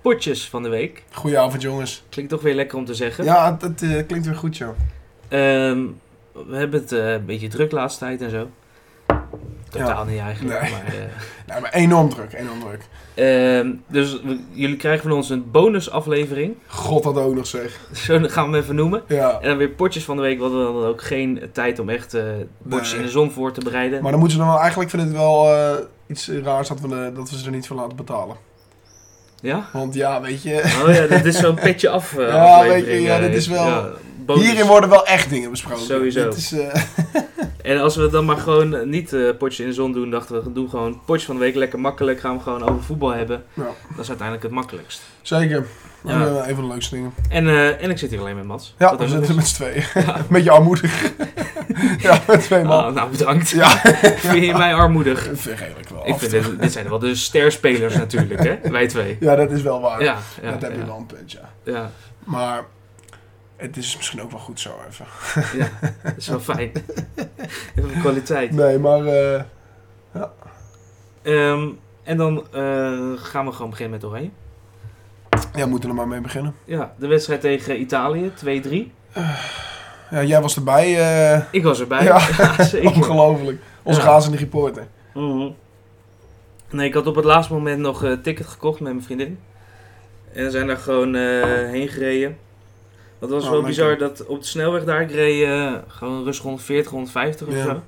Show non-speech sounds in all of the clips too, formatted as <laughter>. potjes van de week. Goedenavond jongens. Klinkt toch weer lekker om te zeggen. Ja, dat eh, klinkt weer goed joh. Ehm, we hebben het eh, een beetje druk laatste tijd en zo. Totaal niet eigenlijk. Nee. Maar, eh, Nou, maar enorm druk, enorm druk. Ehm, dus we- jullie krijgen van ons een bonusaflevering. <laughs> God dat ook nog zeg. Zo gaan we hem even noemen. Ja. En dan weer potjes van de week. We hadden dan ook geen tijd om echt eh potjes Nee. in de zon voor te bereiden. Maar dan moeten ze dan wel, eigenlijk vind ik het wel eh, iets raars dat we, de- dat we ze er niet voor laten betalen. Ja? Want ja, weet je, Oh ja, dat is zo'n petje <laughs> af eh, Ja, aflevering, weet je, ja, eh, dit is wel- bonus. hierin worden wel echt dingen besproken. Sowieso. Dit is, eh, En als we dan maar gewoon niet eh, potjes in de zon doen, dachten we, doen gewoon potjes van de week lekker makkelijk. Gaan we gewoon over voetbal hebben. Ja. Dat is uiteindelijk het makkelijkst. zeker. Ja. Eh, een van de leukste dingen. En, eh, en ik zit hier alleen met Mats. Ja, Dat we ook nog zitten eens. met z'n tweeën. <laughs> Beetje <laughs> armoedig. ja, met twee man. Ah, nou, bedankt. Ja. <laughs> Vind je mij armoedig? Vergeet ik wel. Ik af. vind dit, dit zijn wel de sterspelers natuurlijk, <laughs> hè? Wij twee. Ja, dat is wel waar. Ja, ja, dat heb je ja, wel een punt, ja. ja, Maar het is misschien ook wel goed zo even. ja. dat is wel fijn. <laughs> Even kwaliteit. Nee, maar eh, Ehm, en dan eh, gaan we gewoon beginnen met Oranje. ja, we moeten er maar mee beginnen. Ja, de wedstrijd tegen Italië, 2-3. Ja, jij was erbij. eh Ik was erbij. <laughs> Ja. zeker. ongelooflijk. Onze Ja. razende reporter. Mhm. Nee, ik had op het laatste moment nog een ticket gekocht met mijn vriendin. En we zijn daar gewoon eh, heen gereden. Dat was Oh, wel lekker. bizar dat op de snelweg daar, ik reed eh, gewoon rustig 140, 150 of Ja. zo.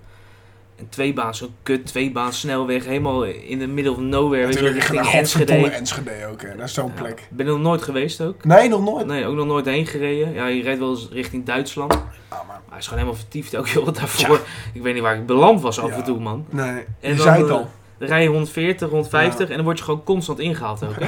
En twee baan, zo'n kut, twee baan snelweg, helemaal in de middle of nowhere. Weet je, wel, Natuurlijk, ik ga richting naar Enschede. godverdomme Enschede ook. Hè. Dat is zo'n Ja, plek. ben er nog nooit geweest ook. Nee, nog nooit. Nee, ook nog nooit heen gereden. Ja, je rijdt wel eens richting Duitsland. Maar Ah, maar, hij is gewoon helemaal vertiefd ook, joh, daarvoor. Ik weet niet waar ik beland was af Ja. en toe, man. nee. En je dan, zei het eh, al. Dan rij je 140, 150 Ja. en dan word je gewoon constant ingehaald <laughs> ook, hè?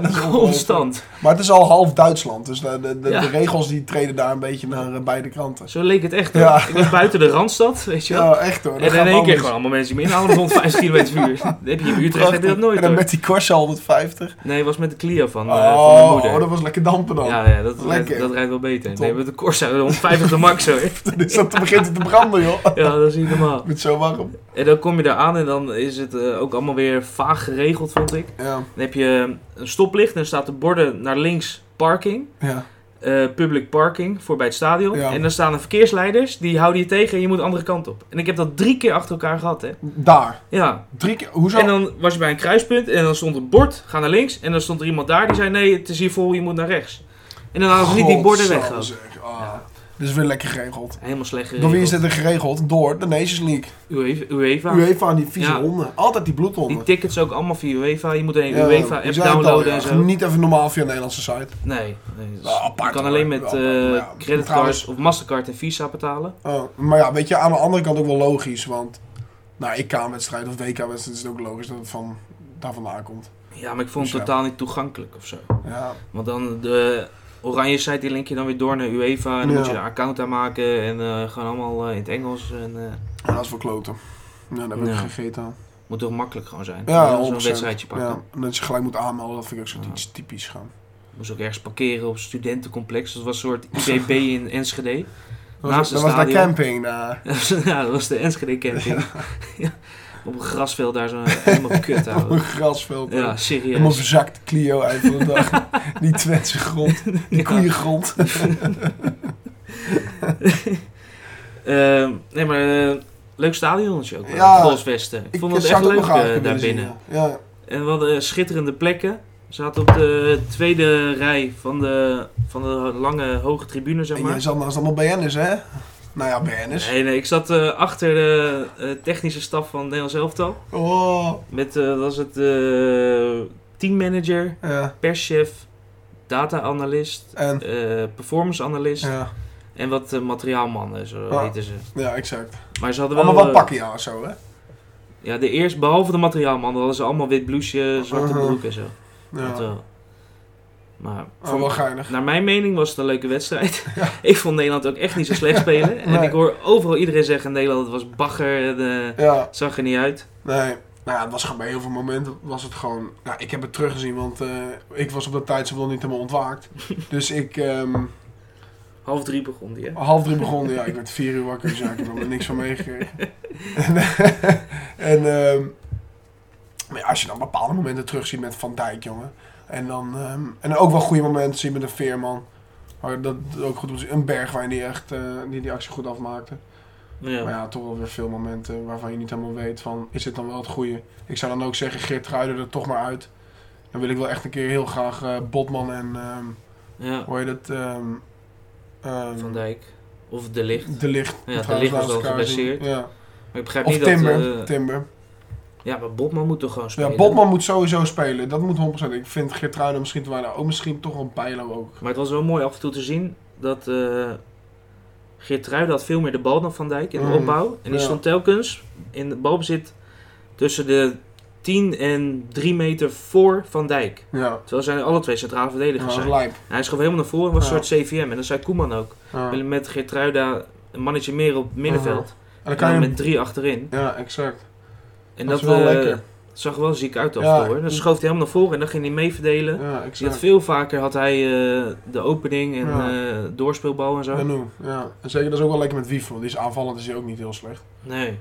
dat is ongelooflijk. constant. Maar het is al half Duitsland. Dus de, de, de, Ja. de regels die treden daar een beetje naar eh, beide kanten. Zo leek het echt, hoor. Ja. Ik was buiten de Randstad, weet je wel. Ja, echt hoor. Dat en in één gaat keer anders. gewoon allemaal mensen die me inhalen met <laughs> 150 km per uur. Dat heb je in Utrecht heb je dat nooit, En dan hoor. met die Corsa 150. Nee, het was met de Clio van, eh, van mijn oh, moeder. oh, dat was lekker dampen dan. <laughs> Ja, ja, dat rijdt, Lekker. dat rijdt wel beter. Nee, Top. met de Corsa, 150 de max, hoor. Dan is Dus dat, dan begint het te branden, joh. <laughs> Ja, dat is niet normaal. Ik ben zo warm. En dan kom je daar aan en dan is het eh, ook allemaal weer vaag geregeld, vond ik. Ja, Dan heb je een stoplicht en dan staat de borden naar links parking. ja. eh, public parking voor bij het stadion. Ja. En dan staan er verkeersleiders, die houden je tegen en je moet de andere kant op. En ik heb dat drie keer achter elkaar gehad, hè. Daar. Ja. Drie keer. Hoezo? En dan was je bij een kruispunt en dan stond een bord, ga naar links. En dan stond er iemand daar die zei, nee, het is hier vol, je moet naar rechts. En dan hadden ze niet die borden weg. Godzame ook. zeg. Ah, Ja. Dit is weer lekker geregeld. Helemaal slecht Door geregeld. wie is dit er geregeld? Door de Nations League. UEFA. UEFA. UEFA en die vieze Ja. honden. Altijd die Die bloedhonden. tickets ook allemaal via UEFA. Je moet een Ja, UEFA-app je zei het al, downloaden ja. en zo. Niet even normaal via de Nederlandse site. Nee, nee dat is- Wel apart, je kan hoor. alleen met Wel apart, eh, maar ja, creditcards trouwens- of Mastercard en Visa betalen. Oh, maar ja, weet je, aan de andere kant ook wel logisch. Want nou, EK-wedstrijd of WK-wedstrijd is het ook logisch dat het van, daar vandaan komt. Ja, maar ik vond het Dus ja. totaal niet toegankelijk of zo. Ja, Want dan de oranje site, die link je dan weer door naar UEFA. En dan Ja. moet je een account aanmaken en eh, gewoon allemaal eh, in het Engels. En, eh, en dat is wel kloten. Ja, dat heb Ja. ik gegeten. moet toch makkelijk gewoon zijn. Ja, Gewoon 100%. zo'n wedstrijdje pakken. Ja, en dat je gelijk moet aanmelden, dat vind ik ook Ja. zo'n iets typisch gaan. Moest ook ergens parkeren op een studentencomplex. Dat was een soort IBB <laughs> in Enschede. <laughs> Dat Naast was, het dat was daar stadion. camping. daar. ja, dat was de Enschede camping. <laughs> Ja. Op een grasveld daar zo eh, helemaal <laughs> kut op een houden. grasveld. eh. Ja, Helemaal serieus. verzakt Clio uit van de dag. <laughs> Die Twentse grond, die Ja. koeiengrond. Ehm, nee, maar eh, leuk stadionnetje ook. Ja. Ja, Golsvesten. Ik vond het zou echt leuk ook nog eh, eigenlijk daar willen zien, binnen. Ja, Ja, En we hadden eh, schitterende plekken. We zaten op de tweede rij van de, van de lange hoge tribune, zeg en jij maar. zat naast allemaal BN'ers, hè? Nou ja, BN'ers. Nee, nee, ik zat eh, achter de eh, technische staf van Nederlands Elftal. Oh, Met, eh, wat was het, eh, teammanager, ja. perschef, data-analyst, En, eh, performance-analyst ja, en wat eh, materiaalmannen, zo Ah. heten ze. ja, exact. Maar ze hadden wel... Allemaal wat eh, pakken, ja, zo, hè? Ja, de eerst, behalve de materiaalmannen, hadden ze allemaal wit blouseje, zwarte Aha. broek en zo. Dat Oh. eh, Ja, wel. Maar oh, wel geinig. Naar mijn mening was het een leuke <laughs> wedstrijd. Ik vond Nederland ook echt niet zo slecht spelen. En Nee. ik hoor overal iedereen zeggen: Nederland was bagger, en, eh, Ja, het zag er niet uit. nee. Nou ja, het was gewoon bij heel veel momenten was het gewoon... Nou, ik heb het teruggezien, want eh, ik was op dat tijdstip nog niet helemaal <laughs> ontwaakt. Dus ik... ehm, Half drie begon die, hè? Half drie begon, ja, ik werd vier uur wakker, dus ja, ik heb er nog niks van <laughs> meegekregen. en en ehm, maar ja, als je dan bepaalde momenten terugziet met Van Dijk, jongen. En dan ehm, en ook wel goede momenten zien met een veerman. Maar dat ook goed om te zien. Een bergwijn die echt eh, die, die actie goed afmaakte. Ja. Maar ja, toch wel weer veel momenten waarvan je niet helemaal weet van, is dit dan wel het goede? Ik zou dan ook zeggen, Geert Ruijder er toch maar uit. Dan wil ik wel echt een keer heel graag eh, Botman en, ehm, ja. hoe heet het? ehm, ehm, Van Dijk. Of De Licht. De Licht. Ja, trouwens, De Ligt was laatst al elkaar zien. geblesseerd. Ja. Maar ik begrijp Of niet Timber. dat... eh, Timber. ja, maar Botman moet toch gewoon spelen? Ja, Botman moet sowieso spelen. Dat moet 100%. Ik vind Geert Ruijder misschien te weinig. Ook misschien toch wel een Pijlo ook. Maar het was wel mooi af en toe te zien dat eh Geertruiden had veel meer de bal dan Van Dijk in de Mm, opbouw. En die ja. stond telkens in de balbezit tussen de 10 en 3 meter voor Van Dijk. Ja. Terwijl zij alle twee centrale Ja, verdedigers dat is zijn. lijp. En hij schoof helemaal naar voren en was Ja. een soort CVM. En dat zei Koeman ook. Ja. Willen Met Geertruida een mannetje meer op het middenveld. En Ah. dan En kan dan je... met drie achterin. Ja, exact. En Dat dat, is wel eh, lekker. zag er wel ziek uit af en Ja. toe, hoor. Dan schoof hij helemaal naar voren en dan ging hij mee verdelen. Ja, Dus je had exact. veel vaker had hij eh, de opening en Ja. eh, doorspeelbal en zo. Nanu, ja. En zeker, dat is ook wel lekker met Wief, want die is aanvallend, is hij ook niet heel slecht. Nee.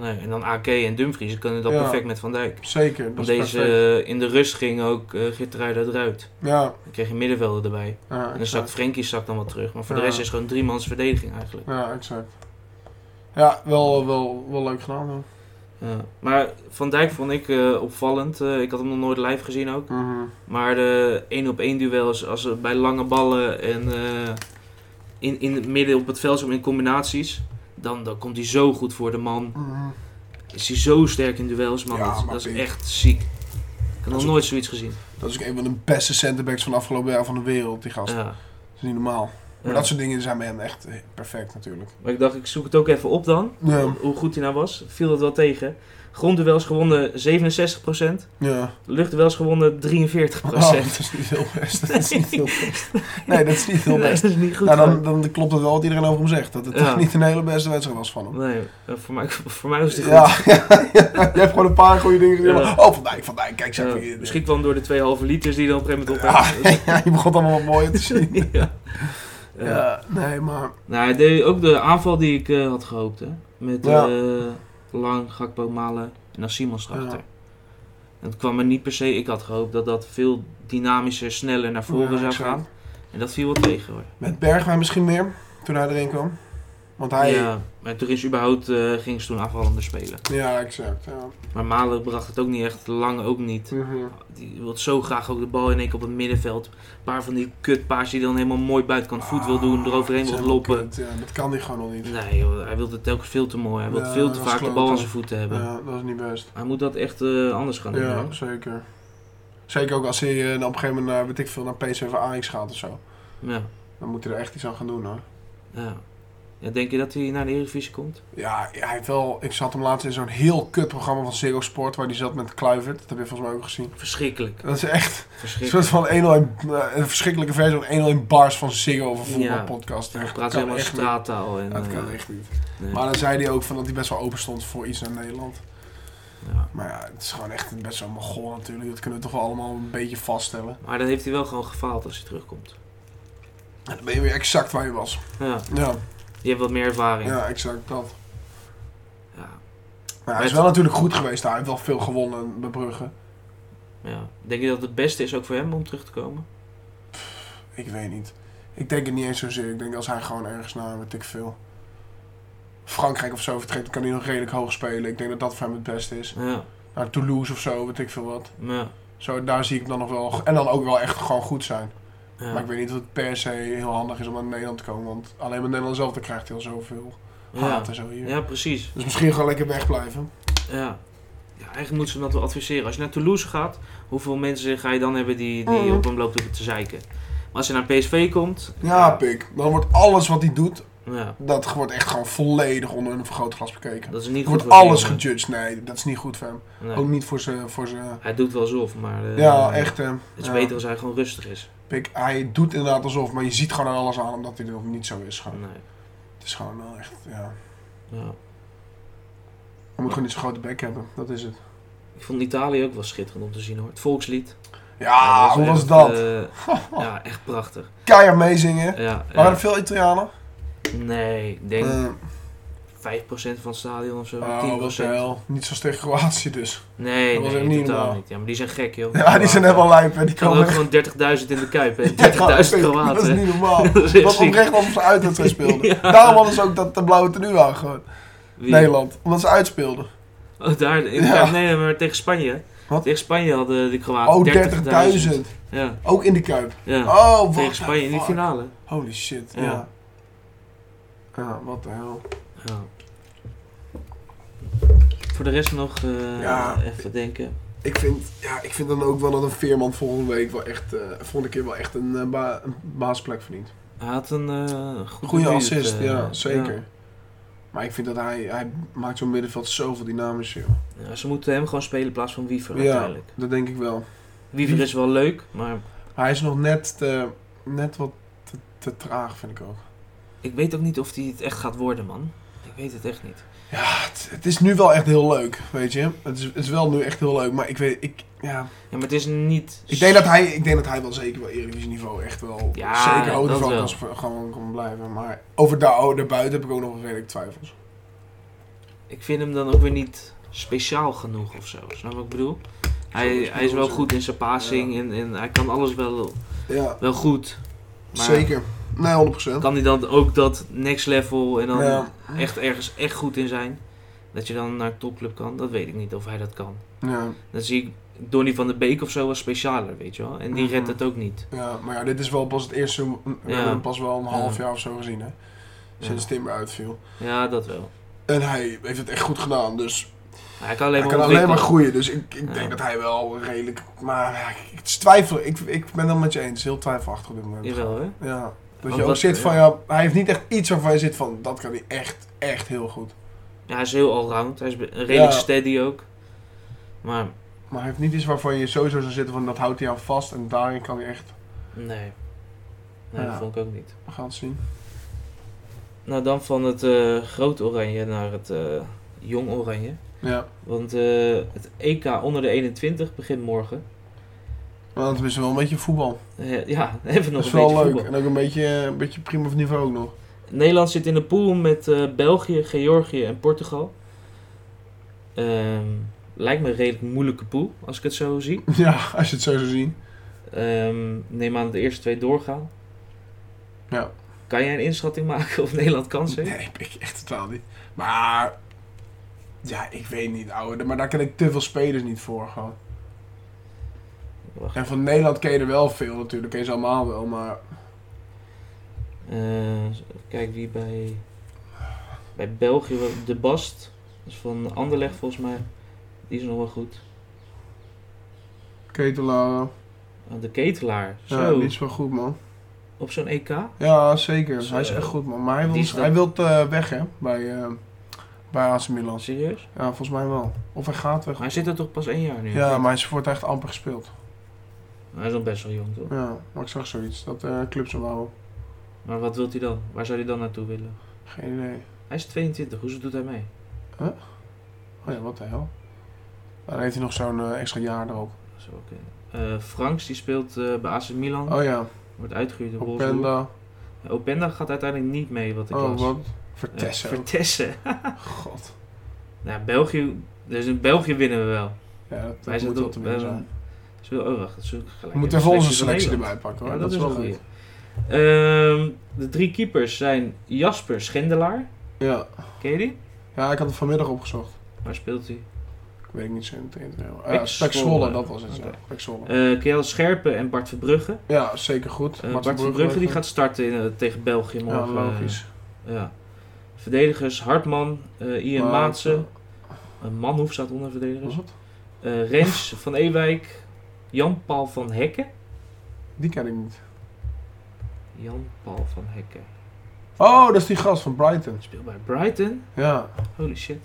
Nee, en dan AK en Dumfries ze kunnen dat Ja. perfect met Van Dijk. Zeker, dat Want is deze perfect. eh, in de rust ging ook uh, Gitteruida eruit. Ja, Dan kreeg je middenvelden erbij. ja, En dan zakt exact. Frenkie zakt dan wat terug. Maar voor de Ja. rest is het gewoon driemans verdediging eigenlijk. Ja, exact. Ja, wel, wel, wel leuk gedaan. Hoor. Ja. Maar Van Dijk vond ik eh, opvallend. Eh, ik had hem nog nooit live gezien ook. Mhm. Maar de 1 op 1 duels als ze bij lange ballen en eh, in, in het midden op het veld zo in combinaties. Dan, dan komt hij zo goed voor de man. Mhm. Is hij zo sterk in duels, man. Ja, dat, maar dat is Piet. echt ziek. Ik heb Dat nog is- nooit zoiets gezien. Dat is ook een van de beste centerbacks van de afgelopen jaar van de wereld, die gast. Ja. Dat is niet normaal. Maar Ja. dat soort dingen zijn bij hem echt eh, perfect natuurlijk. Maar ik dacht, ik zoek het ook even op dan. Ja, Hoe goed hij nou was. Viel dat wel tegen. Grondduels gewonnen 67%. ja. Luchtduels gewonnen 43%. Oh, <laughs> dat is niet heel <laughs> best. Dat is niet heel best. Nee, dat is niet heel Nee, best. dat is niet goed. Nou, dan, hoor. dan klopt het wel wat iedereen over hem zegt. Dat het Ja. toch <laughs> niet een hele beste wedstrijd was van hem. Nee, eh, voor mij, <laughs> voor mij was het goed. <laughs> Ja, je hebt gewoon een paar goede dingen gezien. Ja. maar- Oh, Van Dijk, Van Dijk, kijk, zeg Ja, maar hier. Eh, misschien kwam het door de twee halve liters die dan op een gegeven moment Ja, op <laughs> ja, je begon allemaal wat mooier te <laughs> zien. ja. Ja. Ja, nee, maar... Nou, hij deed ook de aanval die ik eh, had gehoopt, hè. Met Ja. eh, Lang, Gakpo, Malen en dan Simons Ja. erachter. En Het kwam er niet per se... Ik had gehoopt dat dat veel dynamischer, sneller naar voren Ja, zou exact. gaan. En dat viel wel tegen, hoor. Met Bergwijn misschien meer, toen hij erin kwam. Want hij... Ja, Ja, maar toen is überhaupt... eh ging ze toen aanvallender spelen. exact. Ja. Maar Malen bracht het ook niet echt. Lang ook niet. Mhm. Die wil zo graag ook de bal in één keer op het middenveld. Een paar van die kutpaars die dan helemaal mooi buitenkant voet wil doen. Ah, Eroverheen dat is wil helemaal loppen. kut, Ja, dat kan hij gewoon al niet. Nee, joh, hij wil het telkens veel te mooi. Hij wil Ja, veel te dat is vaak de bal kloten. aan zijn voeten hebben. Ja, dat is niet best. Hij moet dat echt eh, anders gaan doen. Ja, hoor. zeker. Zeker ook als hij eh, dan op een gegeven moment, naar, weet ik veel, naar PSV of Ajax gaat of zo. Ja. Dan moet hij er echt iets aan gaan doen, hoor. ja. Ja, denk je dat hij naar de Eredivisie komt? Ja, hij heeft wel... Ik zat hem laatst in zo'n heel kut programma van Ziggo Sport, waar hij zat met Kluivert. Dat heb je volgens mij ook gezien. Verschrikkelijk. Dat is echt... Een <laughs> Verschrikkelijk. soort van 101, eh, een verschrikkelijke versie van 101 bars van Ziggo over Ja. voetbalpodcast. Hij Dat praat kan helemaal echt straattaal. En, niet. Dat eh, kan echt niet. nee. Maar dan zei hij ook van dat hij best wel open stond voor iets naar Nederland. Ja. Maar ja, het is gewoon echt best wel een goal natuurlijk. Dat kunnen we toch wel allemaal een beetje vaststellen. Maar dan heeft hij wel gewoon gefaald als hij terugkomt. En dan ben je weer exact waar je was. Ja. Ja, Je hebt wat meer ervaring. Ja. ja exact dat. Ja. Maar hij is wel natuurlijk goed geweest daar. Hij heeft wel veel gewonnen bij Brugge. Denk je dat het beste is ook voor hem om terug te komen? Ik weet niet. Ik denk het niet eens zozeer. Ik denk als hij gewoon ergens naar, weet ik veel... Frankrijk of zo vertrekt, dan kan hij nog redelijk hoog spelen. Ik denk dat dat voor hem het beste is. Ja. naar Toulouse of zo, weet ik veel wat. Ja. Zo, daar zie ik hem dan nog wel. En dan ook wel echt gewoon goed zijn. Ja. Maar ik weet niet of het per se heel handig is om naar Nederland te komen. Want alleen met Nederland zelf dan krijgt hij al zoveel haat ja. en zo hier. ja, precies. Dus misschien gewoon lekker wegblijven. Ja. ja. Eigenlijk moeten ze hem dat wel adviseren. Als je naar Toulouse gaat, hoeveel mensen ga je dan hebben die, die Mhm. op hem lopen te zeiken? Maar als je naar PSV komt... Ja, pik. Dan wordt alles wat hij doet, ja. dat wordt echt gewoon volledig onder een vergrootglas bekeken. Dat is niet Er wordt goed voor alles die jongen. gejudged. Nee, dat is niet goed voor hem. Nee. Ook niet voor zijn... Voor zijn Hij doet wel alsof, maar eh, ja, echt. eh, het is ja. beter als hij gewoon rustig is. Pik, hij doet inderdaad alsof, maar je ziet gewoon aan alles aan omdat hij er nog niet zo is. Gewoon. Nee. Het is gewoon wel echt, ja. Ja. Hij moet gewoon niet zo'n grote bek hebben, dat is het. Ik vond Italië ook wel schitterend om te zien hoor. Het volkslied. Ja, Ja, hoe echt, was dat? eh, <laughs> ja, echt prachtig. Keihard meezingen. Ja, ja. Waren er veel Italianen? Nee, ik eh, denk Eh, 5% van het stadion of zo. Oh, wat 10%. de hel. Niet zoals tegen Kroatië dus. Nee, Dat was nee, echt niet totaal normaal. niet. Ja, maar die zijn gek, joh. Ja, die zijn helemaal lijp en die Er hadden komen... ook gewoon 30.000 in de Kuip <laughs> en 30.000 Dat is Kroaten. niet <laughs> normaal. Dat is echt Wat ziek. oprecht was ze uit dat zij speelden. <laughs> Ja. Daarom hadden ze ook dat de blauwe tenue aan gewoon. Wie? Nederland. Omdat ze uitspeelden. Oh, daar. in- Ja. Nee, maar tegen Spanje. Wat? Tegen Spanje hadden de Oh, Kroaten 30.000. Ja, Ook in de Kuip. ja. Oh, wat tegen Spanje in the die fuck. finale. Holy shit, Ja. ja. ja. wat de hel. Ja. Voor de rest nog eh, Ja. even denken. Ik vind, ja, ik vind dan ook wel dat een Veerman volgende week wel echt, eh volgende keer wel echt een, eh, ba- een baasplek verdient. Hij had een eh goede, Goede minuut, assist, eh, ja, zeker. Maar ik vind dat hij, hij maakt zo'n middenveld zoveel dynamischer. joh. ja. Ja, ze moeten hem gewoon spelen in plaats van Wiever Ja. uiteindelijk. Dat denk ik wel. Wiever is wel leuk, maar Hij is nog net, te, net wat te, te traag, vind ik ook. ik weet ook niet of hij het echt gaat worden, man. Ik weet het echt niet. Ja, Ah, het, het is nu wel echt heel leuk, weet je. Het is, het is wel nu echt heel leuk, maar ik weet, ik, ja. Ja, maar het is niet... Ik denk dat hij, ik denk dat hij wel zeker wel Eredivisie niveau echt wel Ja, zeker hoger dat van wel. kan, sp- gewoon kan blijven. Maar over daar, oh, daarbuiten heb ik ook nog redelijk twijfels. Ik vind hem dan ook weer niet speciaal genoeg of zo. Snap je wat ik bedoel? Hij, is het hij is wel wel zo. goed in zijn passing Ja. en, en hij kan alles wel, Ja, wel goed. Maar zeker. Nee, 100%. kan hij dan ook dat next level en dan Ja. echt ergens echt goed in zijn? Dat je dan naar een topclub kan? Dat weet ik niet of hij dat kan. Ja, Dan zie ik Donny van de Beek of zo als specialer, weet je wel. En die Mhm. redt het ook niet. ja, maar ja, dit is wel pas het eerste, seizoen- we Ja. hebben hem pas wel een half Ja. jaar of zo gezien, hè. Sinds Ja, Timber uitviel. ja dat wel. En hij heeft het echt goed gedaan, dus Maar hij kan alleen Hij maar kan alleen ontwikkelen. maar groeien, dus ik, ik Ja. denk dat hij wel redelijk... Maar ja, ik- ik twijfel, ik, ik ben dan met je eens, heel twijfelachtig op dit moment. Jawel, hè? Ja, dat Want je ook dat- zit ja. van, ja, hij heeft niet echt iets waarvan je zit van, dat kan hij echt, echt heel goed. Ja, hij is heel allround. Hij is be- redelijk Ja. steady ook. Maar Maar hij heeft niet iets waarvan je sowieso zou zitten van, dat houdt hij aan vast en daarin kan hij echt... nee. Nee, dat Ja. vond ik ook niet. We gaan het zien. Nou, dan van het eh groot oranje naar het eh, jong oranje. Ja, Want eh, het EK onder de 21 begint morgen. want het is wel een beetje voetbal. Eh, ja, <laughs> even nog dat is een wel beetje leuk voetbal. en ook een beetje, een beetje prima op niveau ook nog. <laughs> Nederland zit in de pool met eh, België, Georgië en Portugal. Ehm, lijkt me een redelijk moeilijke pool, als ik het zo zie. Ja, als je het zo zou zien. Ehm, neem aan dat de eerste twee doorgaan. Ja. Kan jij een inschatting maken of Nederland kans heeft? Nee, ik echt totaal niet. Maar, ja, ik weet niet, ouwe. Maar daar ken ik te veel spelers niet voor, gewoon. Wacht. En van Nederland ken je er wel veel natuurlijk, ken je ze allemaal wel, maar Eh, kijk wie bij, bij België. wel- De Bast. Dat is van Anderlecht volgens mij. Die is nog wel goed. Ketelaar, Ah, de Ketelaar. ja, Zo. die is wel goed man. Op zo'n E Ah, EK. Ja, zeker. Zo. Hij is echt goed man. Maar hij Die is wil, dan- hij wil eh, weg hè, bij, eh, bij AC Milan. Serieus? Ja, volgens mij wel. Of hij gaat weg. Maar hij zit er toch pas één jaar nu? Ja, maar hij wordt echt amper gespeeld. Hij is nog best wel jong toch? Ja, maar ik zag zoiets, dat eh clubs hem houden. Maar wat wilt hij dan? Waar zou hij dan naartoe willen? Geen idee. Hij is 22, hoezo doet hij mee? Oh ja, wat de hel. Dan heeft hij nog zo'n eh, extra jaar erop. Dat zou ook kunnen. Eh, Franks die speelt eh, bij AC Milan. Oh ja, Wordt uitgehuurd door Wolfsburg. Openda. Ja, Openda gaat uiteindelijk niet mee, wat ik Oh las. wat. Eh, Vertessen. ook. Vertessen. God. nou, België... Dus in België winnen we wel. Wij Ja, dat, eh, dat zijn moet wel ook- te winnen wij zijn. zijn- Zullen we, oh, wacht, dat zullen we gelijk We moeten even even onze van selectie Nederland. erbij pakken hoor. Ja, dat, is wel goed. een goeie. Ehm, de drie keepers zijn Jasper Schendelaar. Ja. Ken je die? ja, ik had het vanmiddag opgezocht. Waar speelt hij? Ik weet niet zo meteen. Pek Uh, Pek Zwolle, Zwolle, dat was het. ja. eh, oké. Pek Zwolle. Eh Kjell Scherpen en Bart Verbrugge. ja, zeker goed. Eh Bart Verbrugge die gaat starten in, eh, tegen België Ja, morgen. logisch. Eh, ja. Verdedigers Hartman, eh Ian Maatsen. Een Manhoef staat onder Wat verdedigers. was dat? Eh Rens van Ewijk. Jan-Paul van Hekken. Die ken ik niet. Jan-Paul van Hekken. Oh, dat is die gast van Brighton. Speelt bij Brighton. Ja, daar Holy shit.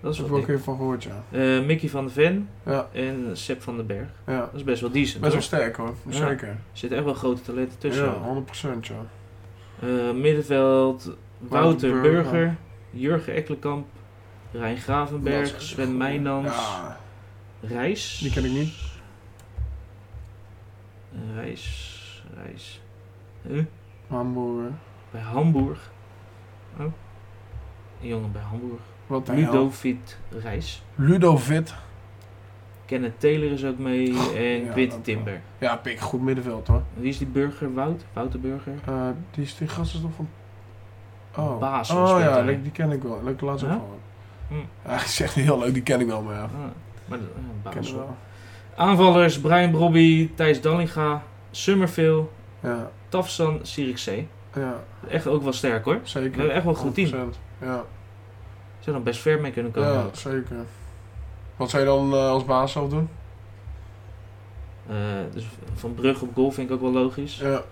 Dat is heb wel ik wel een dik. keer van gehoord, ja. Eh, Mickey van de Ven Ja. en Sepp van den Berg. ja. Dat is best wel decent. Best wel hoor. sterk hoor, Ja. zeker. Er zitten echt wel grote talenten tussen. Ja, 100% ja. Eh, middenveld, Wouter Wouter Burger, Burger. Jurgen Ekkelkamp, Rijn Dat Gravenberg, is- Sven Meijnans, Ja, Reis. die ken ik niet. Eh, Reis, Reis. Huh? Hamburger. Bij Hamburg. Oh. Een jongen bij Hamburg. Wat de hel. Ludovic Reis. Ludovic. Kenneth Taylor is ook mee. En Oh, ja, Quinty ook Timber. Ja, pik, goed middenveld hoor. Wie is die burger? Wout? Wouter Burger? Eh, die, is- die gast is nog van... Oh, Basel oh speelt ja, hij. die, die ken ik wel. Leuk laatst ook Ja? van. Hm. Hij is echt heel leuk, die ken ik wel, maar ja. Ah, maar, dat- eh, Ik ken Basel. hem wel. Aanvallers Brian Brobby, Thijs Dallinga, Summerville, Ja, Tafsan, Sirikzee. ja, Echt ook wel sterk hoor. zeker. We hebben echt wel een goed team. 100%. Ja, Zou dan best ver mee kunnen komen. ja, zeker. Wat zou je dan eh, als baas zelf doen? Eh, dus van Brug op goal vind ik ook wel logisch. Ja,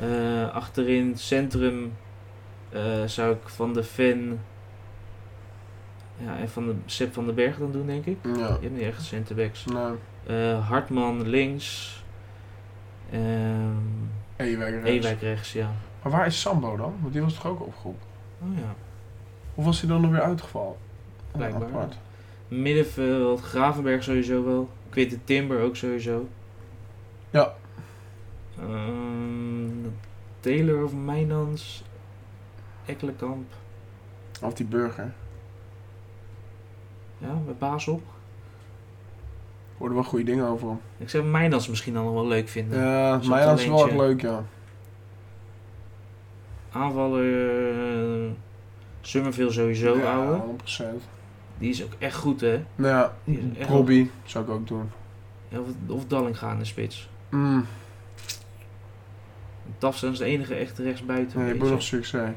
Eh, achterin centrum eh, zou ik van de Ven ja, en van de Sepp van den Berg dan doen, denk ik. ja. Je hebt niet echt centerbacks. Nou, Eh, Hartman links. Ehm Ewijk rechts. Ewijk rechts, ja. Maar waar is Sambo dan? Want die was toch ook opgeroepen? Oh ja. Of was hij dan nog weer uitgevallen? Ja, Blijkbaar. apart. Middenveld, Gravenberg sowieso wel. Quinten Timber ook sowieso. Ja. Ehm, Taylor of Mijnans. Ekkelenkamp. Of die burger. Ja, met Basel. Hoorden wel goede dingen over hem. Ik zou Mijnans misschien dan nog wel leuk vinden. Ja, Zo'n mij dat is wel echt talentje. leuk, ja. Aanvaller eh, Summerville sowieso, ja, ouwe. 100%. Die is ook echt goed, hè. Nou ja, Die is echt Robbie zou ik ook doen. Of, of Dallinga in de spits. Mm, Tafsan is de enige echte rechtsbuiten. nee, een je moet beetje. nog succes.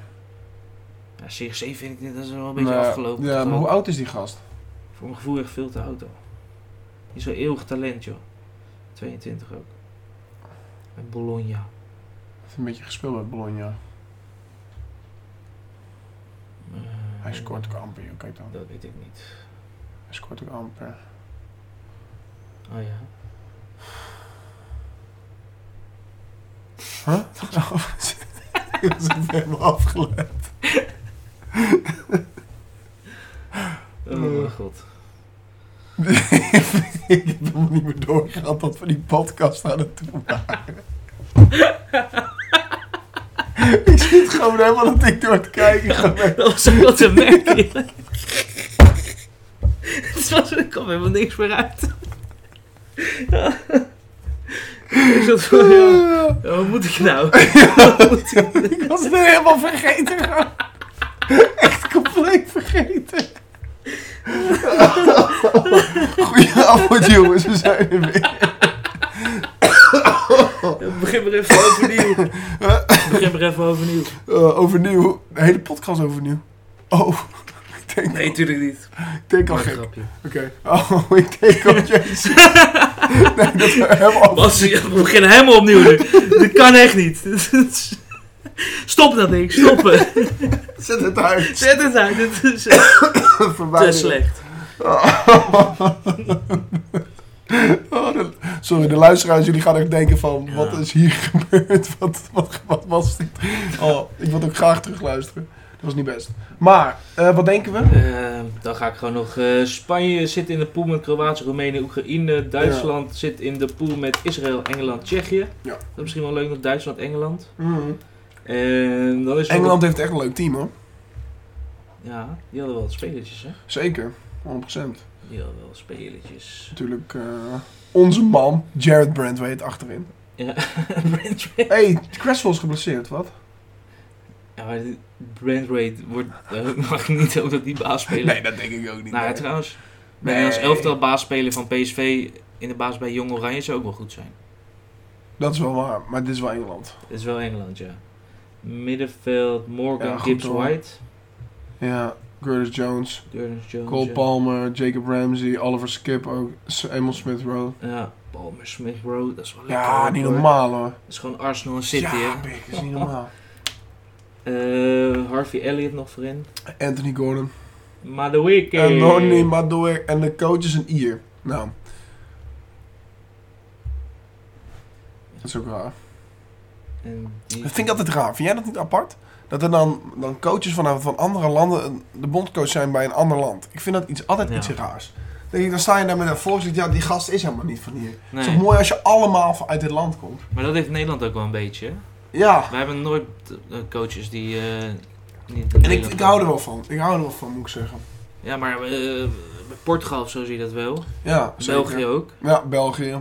Ja, CRC vind ik dit, dat is wel een beetje Maar- afgelopen. Nou, Ja, maar Gewoon hoe oud is die gast? Voor mijn gevoel echt veel te oud al. Die is wel eeuwig talent, joh. 22 ook. En Bologna. Heeft een beetje gespeeld bij Bologna. Eh, Hij scoort ook amper, joh, kijk dan. Dat weet ik niet. Hij scoort ook amper. <laughs> Oh ja. Huh? Dat is even helemaal <laughs> afgelegd. Oh Eh. mijn god. <laughs> ik heb helemaal niet meer doorgehad dat we die podcast aan het doen waren. <laughs> ik zit gewoon helemaal dat ik door te <laughs> kijken. ga <laughs> Dat was ook wel te merken. <laughs> Het was, er kwam helemaal niks meer uit. <laughs> ik zat van, ja, ja, wat moet ik <laughs> nou? Wat moet ik- <laughs> Ik was het helemaal vergeten. gewoon. <laughs> Echt compleet vergeten. <laughs> Goedenavond jongens, we zijn er weer. Begin maar even <laughs> overnieuw. Begin maar even overnieuw. Eh, overnieuw, de hele podcast overnieuw. Oh, <laughs> ik denk, Nee, tuurlijk <laughs> niet. ik denk al Maar een gek. grapje. Oké. Oh, <laughs> ik <laughs> denk al jezus. nee, dat we helemaal... Bas, <laughs> we beginnen helemaal opnieuw nu. Dit kan echt niet. <laughs> Dit is- Stop dat ding, stoppen. Zet het <laughs> uit. Zet het uit, dit is echt te Verwijderen. slecht. Oh, de- sorry, de luisteraars, jullie gaan echt denken van, Ja. wat is hier <laughs> gebeurd? Wat, wat, wat was dit? Oh, ik wil het ook graag terugluisteren. Dat was niet best. Maar, eh, wat denken we? Eh, dan ga ik gewoon nog. eh, Spanje zit in de pool met Kroatië, Roemenië, Oekraïne. Duitsland zit in de pool met Israël, Engeland, Tsjechië. Ja. Dat is misschien wel leuk nog Duitsland, Engeland. En dan is er Engeland heeft echt een leuk team, hoor. nog- Ja, die hadden wel wat spelertjes, hè? Zeker, 100%. Die hadden wel wat spelertjes. Natuurlijk, eh, onze man, Jared Brandwaite, achterin. Ja, <laughs> Hé, hey, Cresswell is geblesseerd, wat? ja maar die Brand Raid wordt, <laughs> eh, mag niet ook dat die baas spelen. dat denk ik ook niet. Nou ja, nee. trouwens. Nee. Bij als elftal baas spelen van PSV in de baas bij Jong Oranje zou ook wel goed zijn. Dat is wel waar, maar dit is wel Engeland. Het is wel Engeland, ja. Middenveld, Morgan, Ja, goed Gibbs, hoor. White, Ja, Curtis Jones, Gurnis Jones. Cole ja. Palmer, Jacob Ramsey, Oliver Skip, ook S- Emil Smith Rowe. Ja, Palmer, Smith Rowe, dat is wel lekker. Ja, hoor. niet normaal hoor. Dat is gewoon Arsenal en City, ja, hè. pik, is niet normaal. <laughs> Eh, Harvey Elliott nog voorin. Anthony Gordon. Maar de weekend. En Ronnie Madoer en de coach is een Ier. Nou. Dat is ook raar. En die- Dat vind ik altijd raar. Vind jij dat niet apart? Dat er dan, dan coaches van, van andere landen een- de bondcoach zijn bij een ander land. Ik vind dat iets, altijd Ja. iets raars. Dan denk ik, Dan sta je daar met een voorzicht. Ja, die gast is helemaal niet van hier. Het is Nee, toch mooi als je allemaal uit dit land komt. maar dat heeft Nederland ook wel een beetje. Ja. We hebben nooit eh, coaches die eh, Niet En ik, Nederland. ik hou er wel van. Ik hou er wel van, moet ik zeggen. Ja, maar eh, Portugal of zo zie je dat wel. Ja, zeker. België ook. Ja, België.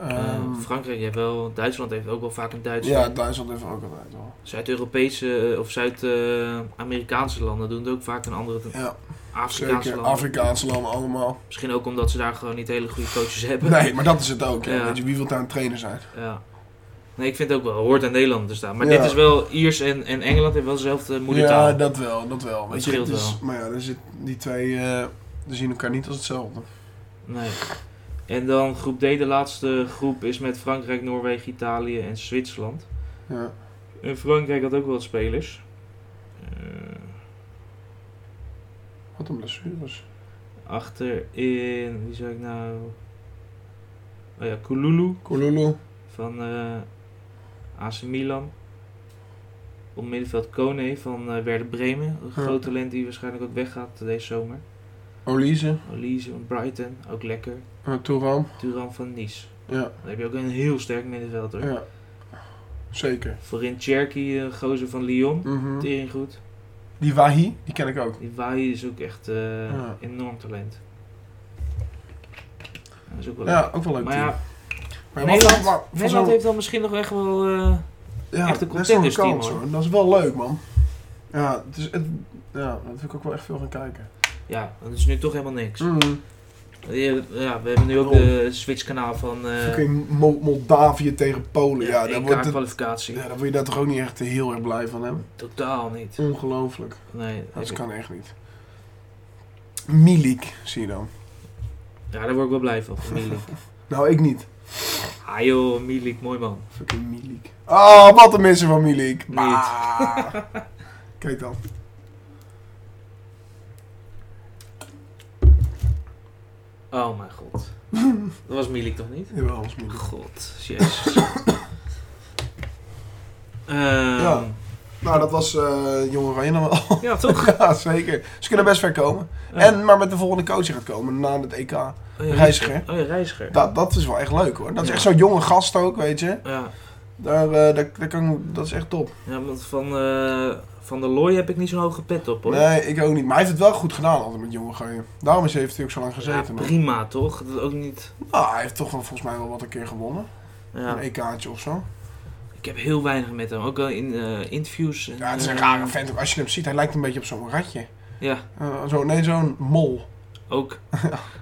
Eh, Ehm, Frankrijk heeft wel. Duitsland heeft ook wel vaak een Duits. ja, Duitsland heeft ook altijd wel. Zuid-Europese eh, of Zuid-Amerikaanse landen doen het ook vaak een andere. Ja, Afrikaanse zeker. landen. Afrikaanse landen allemaal. Misschien ook omdat ze daar gewoon niet hele goede coaches hebben. Nee, maar dat is het ook. hè. Ja. Weet je, wie wil daar een trainer zijn? Ja. Nee, ik vind het ook wel. Hoort aan Nederland te staan. Maar Ja. dit is wel. Iers en, en Engeland hebben wel dezelfde moedertaal. Ja, dat wel, dat wel. Weet je, scheelt dus, wel. Maar ja, er zit, die twee eh, die zien elkaar niet als hetzelfde. Nee. En dan groep D, de laatste groep, is met Frankrijk, Noorwegen, Italië en Zwitserland. Ja. En Frankrijk had ook wel wat spelers. Eh, Wat een blessures. achterin, wie zou ik nou... Oh ja, Kululu Kolulu. van eh AC Milan. Op middenveld Kone van eh Werder Bremen. Een Ja. groot talent die waarschijnlijk ook weggaat deze zomer. Olise. Olise van Brighton, ook lekker. eh, Touram. Turan van Nice. Ja, Dan heb je ook een heel sterk middenveld hoor. ja. Zeker. Voorin Cherky, een gozer van Lyon. Mhm. Tering goed. Die Wahi, die ken ik ook. Die Waai is ook echt eh, Ja. enorm talent. Dat is ook wel Ja, ook wel leuk. Maar team. ja, Maar wat- Nederland- wat- van Nederland zo'n- heeft dan misschien nog echt wel... eh, ja, echt een dat is wel contendersteam, kans, hoor. hoor. Dat is wel leuk, man. Ja, het is, het, ja, daar wil ik ook wel echt veel gaan kijken. ja, dat is nu toch helemaal niks. Mm. Ja, we hebben nu ook de Switch-kanaal van... eh, Oh. Fucking Mo- Moldavië tegen Polen. Ja, daar wordt het- EK-kwalificatie. ja, daar word je daar toch ook niet echt heel erg blij van, hè? Totaal niet. Ongelooflijk. Nee, Dat ik- kan echt niet. Milik, zie je dan. ja, daar word ik wel blij <laughs> van, van Milik. Nou, ik niet. ah joh, Milik, mooi man. Fucking Milik. Ah, wat een missen van Milik. Niet. <laughs> Bah. Kijk dan. Oh mijn <laughs> god. Dat was Milik toch niet? Jawel, ons Milik. God, jezus. <laughs> Ehm, Ja. Nou, dat was eh Jong Oranje dan wel. ja, toch? ja, zeker. Ze kunnen best ver komen. <laughs> En maar met de volgende coach die gaat komen na het EK. Oh ja, Reiziger. Oh ja, reiziger. Dat, dat is wel echt leuk hoor. Dat is Ja. echt zo'n jonge gast ook, weet je. Ja. Daar, eh, daar, daar kan, dat is echt top. ja, want van, eh, van der Looy heb ik niet zo'n hoge pet op hoor. Nee, ik ook niet. Maar hij heeft het wel goed gedaan altijd met Jong Oranje. Daarom is hij, heeft hij ook zo lang ja, gezeten. man. prima toch? Dat ook niet. Ah, hij heeft toch wel volgens mij wel wat een keer gewonnen. Ja. Een EK'tje of zo. Ik heb heel weinig met hem. Ook wel in eh, interviews. En, Ja, het is een eh, rare vent ook. Als je hem ziet, hij lijkt een beetje op zo'n ratje. Ja, Eh, zo, nee, zo'n mol. <laughs> ook.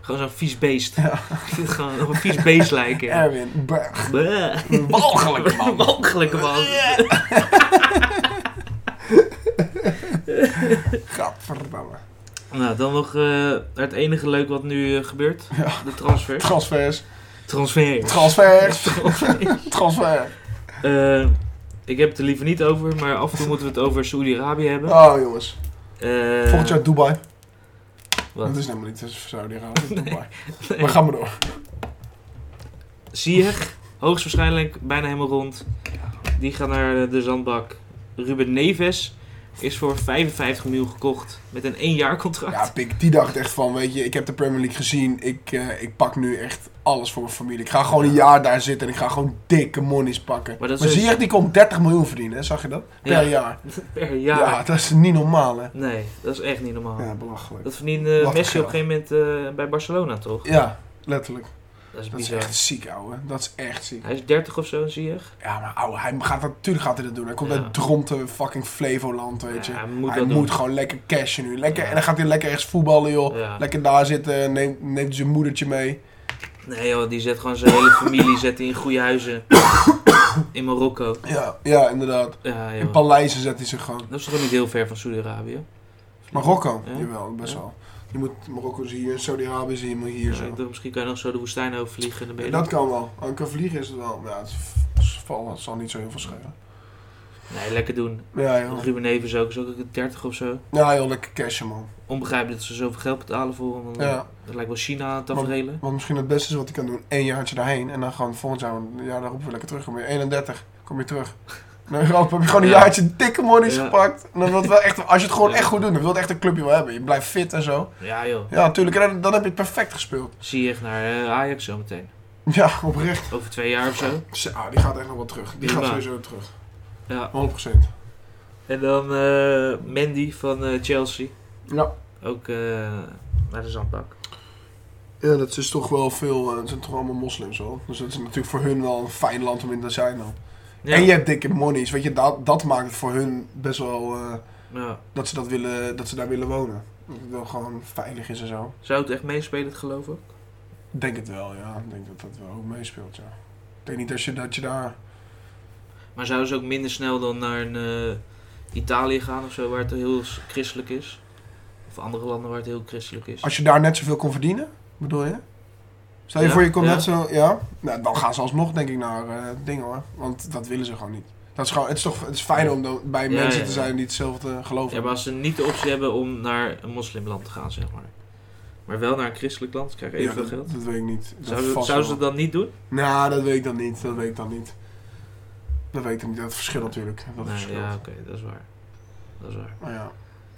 Gewoon zo'n vies beest. Ik vind het gewoon op een vies beest lijken. Ja. Erwin. Bah. Bleh. Een Walgelijke man. <laughs> Walgelijke man. Gadverdamme. Nou, dan nog eh, het enige leuk wat nu eh, gebeurt. Ja. De transfer. Transfers. Transfer. Transfers. Transfer. Eh, ik heb het er liever niet over, maar af en toe moeten we het over Saudi-Arabië hebben. Oh, jongens. Eh, Volgend jaar Dubai. wat? Dat is helemaal niet <laughs> Saudi-Arabië. Nee. Dubai. Maar ga maar door. Ziyech, hoogstwaarschijnlijk bijna helemaal rond. Die gaat naar eh, de zandbak. Ruben Neves is voor 55 miljoen gekocht met een één jaar Ja, contract. Pik, die dacht echt van, weet je, ik heb de Premier League gezien. Ik, eh, ik pak nu echt alles voor mijn familie. Ik ga gewoon een jaar daar zitten en ik ga gewoon dikke monies pakken. Maar Maar, dat is zie dus- je echt, die kon 30 miljoen verdienen, hè? zag je dat? Ja. Per jaar. <laughs> Per Ja. jaar. dat is niet normaal, hè? Nee, dat is echt niet normaal. Ja, belachelijk. Dat verdiende Wat Messi op geld. een gegeven moment eh, bij Barcelona, toch? Ja, letterlijk. Dat is Dat is bizar. echt ziek, ouwe. Dat is echt ziek. Hij is 30 of zo, Ziyech. Ja, maar ouwe, hij gaat, natuurlijk gaat hij dat doen. Hij komt Ja. uit Dronten, fucking Flevoland, weet je. Ja, hij moet hij dat moet doen. gewoon lekker cashen nu. Lekker, Ja. En dan gaat hij lekker ergens voetballen, joh. Ja. Lekker daar zitten, neemt, neemt zijn moedertje mee. Nee joh, die zet gewoon zijn hele familie zet die in goede <coughs> huizen. In Marokko. Ja, ja inderdaad. Ja In joh. paleizen zet hij zich gewoon. Dat is toch ook niet heel ver van Saudi-Arabië? Marokko, Ja. jawel, best Ja. wel. Je moet Marokko zien, en Saudi-Arabië zien, maar hier Ja, zo. ik dacht, misschien kan je nog zo de woestijn overvliegen en dan ben je dat er. kan wel. Aan kan vliegen is het wel. Ja, het, is- val- het zal niet zo heel veel schelen. Nee, lekker doen. Ja, joh. Ruben Neves ook, is ook een 30 of zo. Ja, joh, lekker cashen, man. Onbegrijpelijk dat ze zoveel geld betalen voor hem. Ja. Dat lijkt wel China aan tafereelen. Want misschien het beste is wat hij kan doen, één jaartje daarheen. En dan gewoon volgend jaar, een jaar daarop weer lekker terug. Kom je 31, kom je terug. Naar Europa heb je gewoon een Ja. jaartje dikke monies Ja. gepakt. En dan wil het wel echt, als je het gewoon Ja. echt goed doet, dan wil het echt een clubje wel hebben. Je blijft fit en zo. Ja joh, Ja, natuurlijk. En dan, dan heb je het perfect gespeeld. zie je echt naar eh, Ajax zo meteen. Ja, oprecht. Over twee jaar of zo. Zo, ah, die gaat echt nog wel terug. Die Prima. gaat sowieso terug. Ja. 100%. En dan eh, Mandy van eh, Chelsea. Ja. Ook eh, naar de zandbak. Ja, dat is toch wel veel. eh, Het zijn toch allemaal moslims hoor. Dus dat is natuurlijk voor hun wel een fijn land om in te zijn dan. Ja. En je hebt dikke monies. Weet je, dat, dat maakt het voor hun best wel eh, Ja. dat, ze dat, willen, dat ze daar willen wonen. Dat het wel gewoon veilig is en zo. Zou het echt meespelen, het geloof ik? Denk het wel, ja. Ik denk dat dat wel ook meespeelt, ja. Ik denk niet dat je, dat je daar... Maar zouden ze ook minder snel dan naar een, eh, Italië gaan of zo, waar het heel s- christelijk is? Of andere landen waar het heel christelijk is? Als je daar net zoveel kon verdienen, bedoel je? Stel je Ja, voor je kon ja. net zo... Ja? Nou, dan gaan ze alsnog denk ik naar eh, dingen hoor. Want dat willen ze gewoon niet. Dat is gewoon, het is toch het is fijn om dan bij Ja, mensen ja, te ja. zijn die hetzelfde geloof Ja, maar als ze niet de optie hebben om naar een moslimland te gaan, zeg maar. Maar wel naar een christelijk land, ze krijgen Ja, evenveel dat, geld. dat weet ik niet. Dat Zouden vast zou ze wel. dat dan niet doen? Nou, dat weet ik dan niet. Dat weet ik dan niet. Dat weet ik dan niet. Dat verschilt natuurlijk. Dat nee, verschilt. ja, oké, dat is waar. Dat is waar. Maar Oh ja.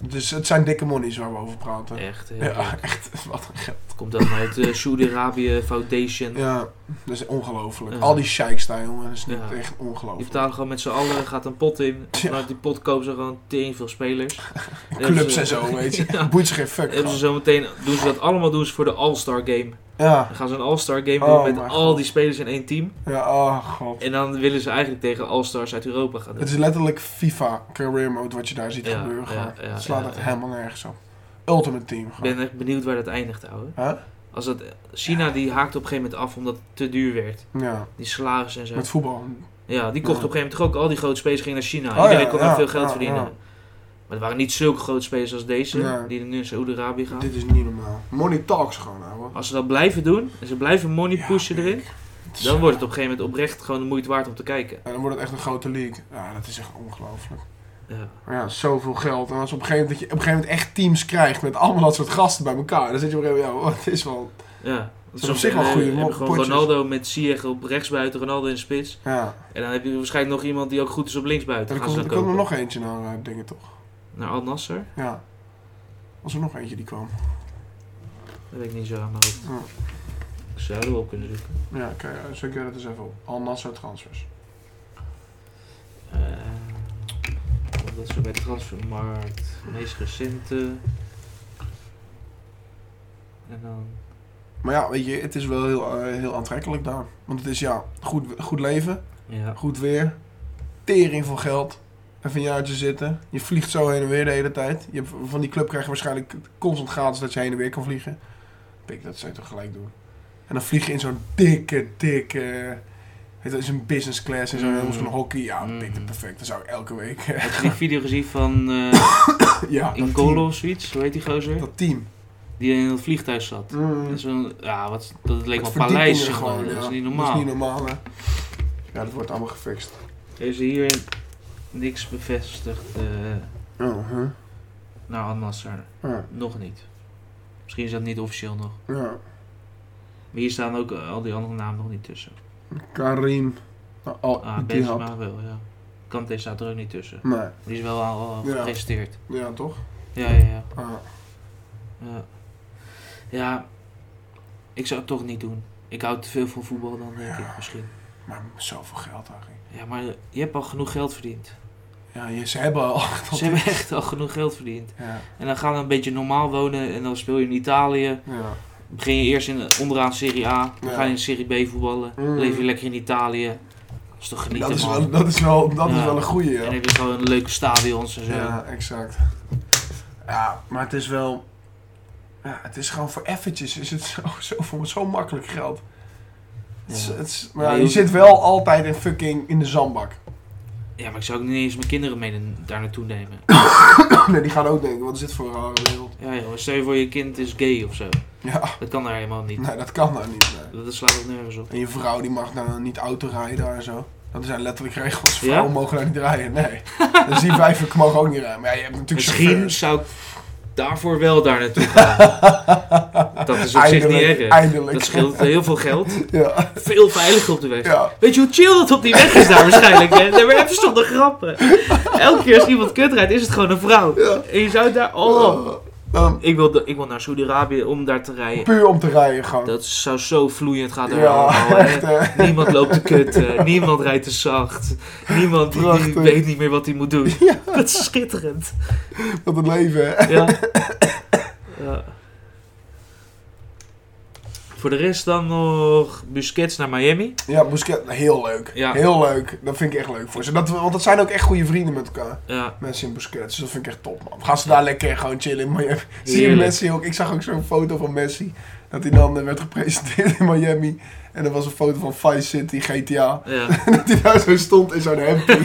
Dus het zijn dikke monies waar we over praten. Echt, heel Ja, leuk. echt. Wat een geld. Komt dat uit de Saudi-Arabië Foundation? Ja, dat is ongelooflijk. Ja. Al die sheiks daar, jongen. Dat is niet Ja. echt Die ongelooflijk. betalen gewoon met z'n allen, gaat een pot in. Ja. Vanuit die pot kopen ze gewoon tering veel <laughs> spelers. hebben Clubs ze- en zo, weet je. <laughs> Ja. dus- Boeit ze geen fuck. Hebben ze gewoon. zo meteen, doen ze dat allemaal doen ze voor de All-Star Game. Ja. Dan gaan ze een All-Star Game doen Oh, met mijn al God. die spelers in één team. Ja, oh god. En dan willen ze eigenlijk tegen All-Stars uit Europa gaan doen. Het is letterlijk FIFA career mode wat je daar ziet Ja, gebeuren. ja, gewoon. ja, het slaat ja, echt ja. helemaal nergens op. Ultimate team Ik gewoon. ben echt benieuwd waar dat eindigt, ouwe. Huh? Als dat, China die haakte op een gegeven moment af omdat het te duur werd. Ja, Die salaris en zo. met voetbal. Ja, die kocht Ja. op een gegeven moment toch ook al die grote spelers gingen naar China. Oh, Iedereen ja, kon ja, daar veel geld ja, verdienen. ja. Maar het waren niet zulke grote spelers als deze, Nee. die nu in Saoedi-Arabië gaan. Dit is niet normaal. Money talks gewoon, ouwe. Als ze dat blijven doen, en ze blijven money Ja, pushen kijk. erin, Het is- dan wordt het op een gegeven moment oprecht gewoon de moeite waard om te kijken. En dan wordt het echt een grote league. Ja, dat is echt ongelooflijk. Ja. Maar ja, zoveel geld. En als op een gegeven moment, dat je op een gegeven moment echt teams krijgt met allemaal dat soort gasten bij elkaar. Dan zit je op een gegeven moment, ja, het is wel... Ja. Want zijn op soms zich wel hebben- goede hebben gewoon potjes. Ronaldo met Ziyech op rechtsbuiten, Ronaldo in de spits. Ja. En dan heb je waarschijnlijk nog iemand die ook goed is op En linksbuiten. Gaan er ze komt, er dan komt er kopen. nog eentje naar eh, dingen, toch? Naar Nou, Al Nasser? Ja. Was er nog eentje die kwam? Dat weet ik niet zo aan de Ja. hoofd. Ik zou er wel op kunnen zoeken. Ja, oké. eh, zoek jij dat eens even op. Al Nasser transfers. Eh, dat is bij de transfermarkt. Meest recente. En dan. Maar ja, weet je, het is wel heel, eh, heel aantrekkelijk daar. Want het is, ja, goed, goed leven, Ja. goed weer, tering voor geld. Even een jaartje zitten. Je vliegt zo heen en weer de hele tijd. Je, hebt- van die club krijg je waarschijnlijk constant gratis dat je heen en weer kan vliegen. Pik, dat zou je toch gelijk doen. En dan vlieg je in zo'n dikke, dikke... weet je, Dat is een business class en zo'n Mm. helemaal zo'n hockey. Ja, pik, dat Mm. perfect. Dat zou ik elke week... <laughs> eh, Heb je die video gezien van eh ja, <coughs> dat team. Ingolo of zoiets? Hoe heet die gozer? Dat team. Die in het vliegtuig zat. Mm. Dat is een, ja, wat, dat leek Met wel een paleis. verdiepingen zeg maar. gewoon, dat is ja. niet Dat normaal. is niet normaal, hè. Ja, dat wordt allemaal gefixt. Heeft ze hier niks bevestigd eh Uh -huh. naar Al Nasser? ja. Nog niet. Misschien is dat niet officieel nog. Ah, ja. Maar hier staan ook eh, al die andere namen nog niet tussen. Karim. Nou, al, Ah, die had- Benzema wel, ja. Kante staat er ook niet tussen. Nee. Die is wel al, al Ja. geregistreerd. Ja, toch? Ja, ja, ja, Ah. ja. Ja, ik zou het toch niet doen. Ik hou te veel van voetbal dan, denk Ja. ik, misschien. maar zoveel geld eigenlijk. Ja, maar je hebt al genoeg geld verdiend. <laughs> Ja, je- ze hebben al... Ze hebben echt al genoeg geld verdiend. Ja. En dan gaan we een beetje normaal wonen en dan speel je in Italië. ja. Begin je eerst in, onderaan Serie A, dan Ja. ga je in Serie B voetballen. Mm. Leef je lekker in Italië. Dat is toch genieten, Dat, is man. wel, dat, is wel, dat Ja. is wel een goeie, En dan ja. heb je gewoon leuke stadions en zo. Ja, exact. Ja, maar het is wel... Ja, het is gewoon voor eventjes is het <laughs> zo, zo, voor zo makkelijk geld. Het is, Ja. het is- maar ja, Nee, je hoe- zit wel altijd in fucking in de zandbak. <clears throat> Ja, maar ik zou ook niet eens mijn kinderen mee na- daar naartoe <laughs> nemen. Nee, die gaan ook denken, wat is dit voor een rare wereld? Ja, joh, stel je voor je kind is gay of zo. Ja, Dat kan daar helemaal niet. nee, dat kan nou niet. nee. Dat dat slaat ook nergens op. En je vrouw die mag nou niet auto rijden daar en zo. Dat zijn letterlijk regels. Ja? Vrouwen mogen daar niet rijden, <laughs> nee. Dus die wijven mogen ook niet rijden. Maar ja, je hebt natuurlijk Misschien chauffeurs. zou ik daarvoor wel daar naartoe gaan. <laughs> Dat is op zich niet Eindelijk, erg. Eindelijk. Dat scheelt heel veel geld. <laughs> Ja, Veel veiliger op de weg. ja. Weet je hoe chill dat op die weg is daar waarschijnlijk? Hè? Daar hebben even zonder grappen. Elke keer als iemand kut rijdt, is het gewoon een vrouw. Ja. En je zou daar... Oh, Eh, Dan Ik wil, de- ik wil naar Saudi-Arabië om daar te rijden. puur om te rijden gewoon. Dat zou zo vloeiend gaan. daar ja, allemaal, hè. echt eh. hè. Niemand loopt te eh, <laughs> kutten. Niemand rijdt te zacht. Niemand die, die Prachtig. weet niet meer wat hij moet doen. Dat is schitterend. Wat een leven hè. Ja. Ja. Voor de rest dan nog Busquets naar Miami. Ja, Busquets, heel leuk. Ja. Heel leuk. Dat vind ik echt leuk voor ze. Dat, want dat zijn ook echt goede vrienden met elkaar. Ja, Messi en Busquets. Dus dat vind ik echt top, man. Gaan ze daar lekker gewoon chillen in Miami. <laughs> Zie je Heerlijk. Messi ook? Ik zag ook zo'n foto van Messi. Dat hij dan eh, werd gepresenteerd in Miami. En er was een foto van Vice City, <laughs> GTA. ja. Dat hij daar zo stond in zo'n hemdje.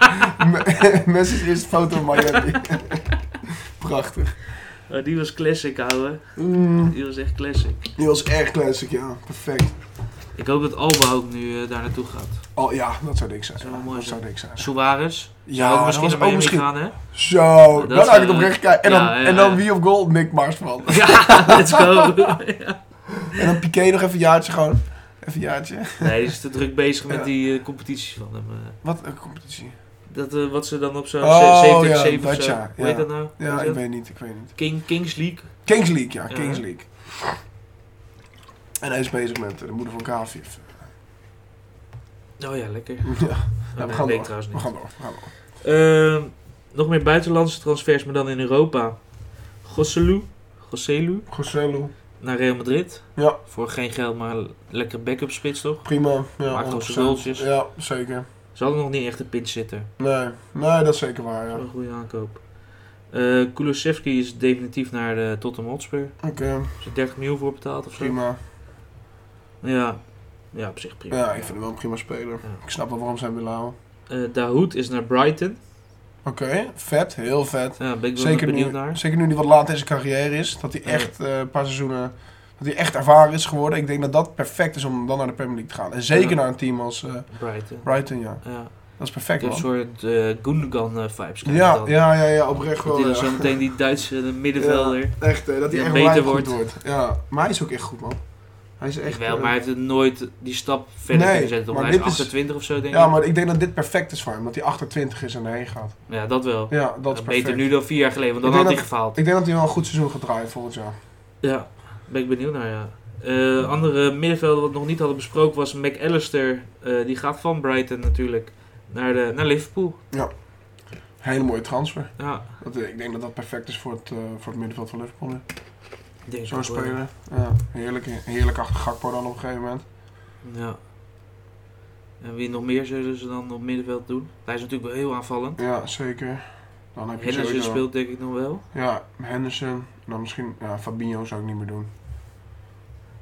<laughs> Me- <laughs> Messi's eerste foto in Miami. <laughs> Prachtig. Maar die was classic, ouwe. Mm, Die was echt classic. die was erg classic, ja. Perfect. Ik hoop dat Alba ook nu eh, daar naartoe gaat. Oh ja, dat zou dik zijn. Zou wel mooi dat zijn. zou dik zijn. Suarez. Ja, ook dat misschien was naar Miami ook misschien... gaan, hè? Zo, Dat dan is, had ik het eh, oprecht kijken. En, dan, ja, ja, en dan ja. wie op goal? Nick Marsman. <laughs> Ja, let's go. En dan Piqué nog even een jaartje gewoon. Even een jaartje. Nee, die is te druk bezig met Ja. die eh, competitie van hem. eh. Wat een competitie. Dat, eh, wat ze dan op zo'n Oh, 70 ja, 7 of dat zo. ja, Hoe heet ja. dat nou? Hoe Ja, heet ik dat? weet niet, ik weet niet. King, Kings League. Kings League, ja, Ja. Kings League. En hij is bezig met eh, de moeder van Kaviev. Oh ja, lekker. Ja, Oh, Ja, we nee, gaan weet door. ik trouwens we niet. gaan door. We gaan Ehm, door. nog meer buitenlandse transfers, maar dan in Europa. Gosselu. Gosselu. Gossello, Naar Real Madrid. Ja. Voor geen geld, maar lekker backup spits toch? prima. Ja, Maakt 100%. onze goaltjes. Ja, zeker. Ze hadden nog niet echt een pinch zitten. Nee, nee, dat is zeker waar, ja. Wel Oké. Een goede aankoop. Eh Kulusevski is definitief naar de Tottenham Hotspur. Is er 30 miljoen voor betaald of zo? Prima. Ja. ja, op zich prima. Ja, ik vind hem wel een prima speler. Ja. Ik snap wel waarom ze hem willen houden. Eh, Dahoud is naar Brighton. Oké, vet. Heel vet. Ja, ben ik wel Zeker benieuwd nu, naar. zeker nu hij wat laat in zijn carrière is. Dat hij Ja. echt eh, een paar seizoenen. Dat hij echt ervaren is geworden. Ik denk dat dat perfect is om dan naar de Premier League te gaan. En zeker Ja. naar een team als eh, Brighton. Brighton, ja. Ja. Dat is Ik perfect, heb een man. soort eh Gundogan-vibes. Ja, ja, ja, ja, oprecht Dat wel. hij dan ja. zo meteen die Duitse middenvelder. <laughs> Ja, echt, hè, dat Die hij echt beter beter wordt. wordt. wordt. Ja, maar hij is ook echt goed, man. Hij is echt... Wel, eh, maar hij heeft het nooit die stap verder Nee, kunnen zetten. maar Hij is dit is- 28 of zo, denk ik. ja, maar ik denk dat dit perfect is voor hem. Dat hij 28 is en erheen gaat. Ja, dat wel. Eh, Ja, dat is perfect. Beter nu dan vier jaar geleden, want dan Ik had denk hij dat- gefaald. Ik denk dat hij wel een goed seizoen gaat draaien volgend jaar. Ja, ben ik benieuwd naar, ja. Eh, andere middenvelder wat we nog niet hadden besproken was McAllister. Eh, die gaat van Brighton natuurlijk naar, de, naar Liverpool. Hele mooie transfer. Ja, Dat, eh, ik denk dat dat perfect is voor het, eh, voor het middenveld van Liverpool nu. ik eh, denk Zo'n dat wel. speler. Ja, heerlijk, heerlijk achter Gakpo dan op een gegeven moment. eh, Ja. En wie nog meer zullen ze dan op middenveld doen? Hij is natuurlijk wel heel aanvallend. Ja, zeker. Dan heb je Henderson sowieso- speelt denk ik nog wel. Ja, Henderson. En Dan misschien ja, Fabinho zou ik niet meer doen.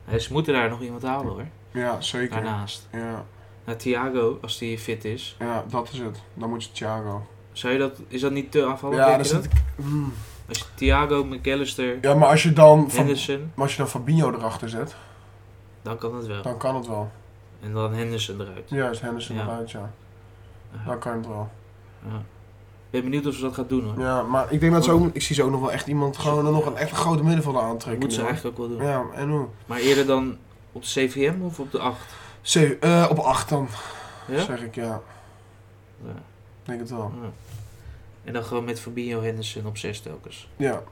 Eh, Ze moeten daar nog iemand halen hoor. Ja, zeker. Daarnaast. Ja, Naar Thiago, als die fit is. ja, dat is het. Dan moet je Thiago. Zou je dat, is dat niet te aanvallend? ja, denk dat je is dat? het. Mm. Als je Thiago, McAllister, Ja, maar als je dan, Fa- Henderson, maar als je dan Fabinho erachter zet, dan kan het wel. dan kan het wel. En dan Henderson eruit. Ja, is Henderson Ja. eruit, ja. Ja. Dan kan het wel. Ja. Ik ben benieuwd of ze dat gaat doen hoor. Ja, maar ik denk dat ze ook, ik zie ze ook nog wel echt iemand gewoon nog een echt een grote middenvelder Dat aantrekken. moet ze nu, hoor. eigenlijk ook wel doen. Ja, en hoe? Maar eerder dan op de CVM of op de 8? Zeven- eh, op 8 dan, Ja? zeg ik, ja. Ja. Ik Denk het wel. Ja. En dan gewoon met Fabinho Henderson op 6 telkens. Ja.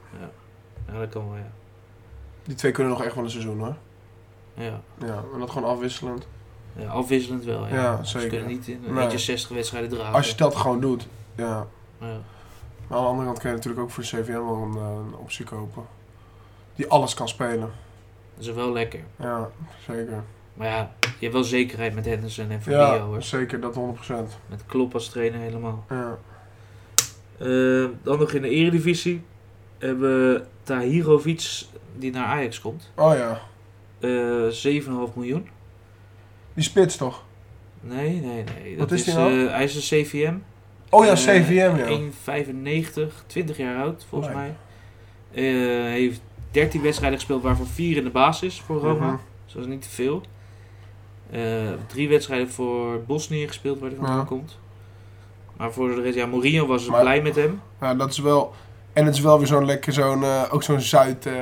Ja, dat kan wel, ja. Die twee kunnen nog echt wel een seizoen hoor. Ja, Ja, en dat gewoon afwisselend. ja afwisselend wel. Ja, Ja, Ze zeker. kunnen niet in een Nee. beetje 60 wedstrijden dragen. Als je dat gewoon doet, ja. ja. Maar aan de andere kant kun je natuurlijk ook voor de CVM wel een, eh, een optie kopen. Die alles kan spelen. Dat is wel lekker. Ja, zeker. Maar ja, je hebt wel zekerheid met Henderson en Fabinho Ja, hoor. zeker, dat 100%. Met Klopp als trainer helemaal. Ja. Eh, dan nog in de eredivisie hebben we Tahirovic die naar Ajax komt. Oh ja, Eh 7,5 miljoen. die spits toch? Nee, nee, nee. Wat Dat is die eh, nou? hij is een CVM. Oh ja, Eh, CVM ja. 1,95, 20 jaar oud volgens Nee. mij. Eh, Hij heeft 13 wedstrijden gespeeld, waarvan 4 in de basis voor Roma. Mhm. Dus dat is niet te veel. Eh, drie wedstrijden voor Bosnië gespeeld, waar hij vandaan Ja. komt. Maar voor de rest, ja, Mourinho was dus Maar- blij met hem. Ja, dat is wel... En het is wel weer zo'n lekker, zo'n, eh, ook zo'n Zuid... eh,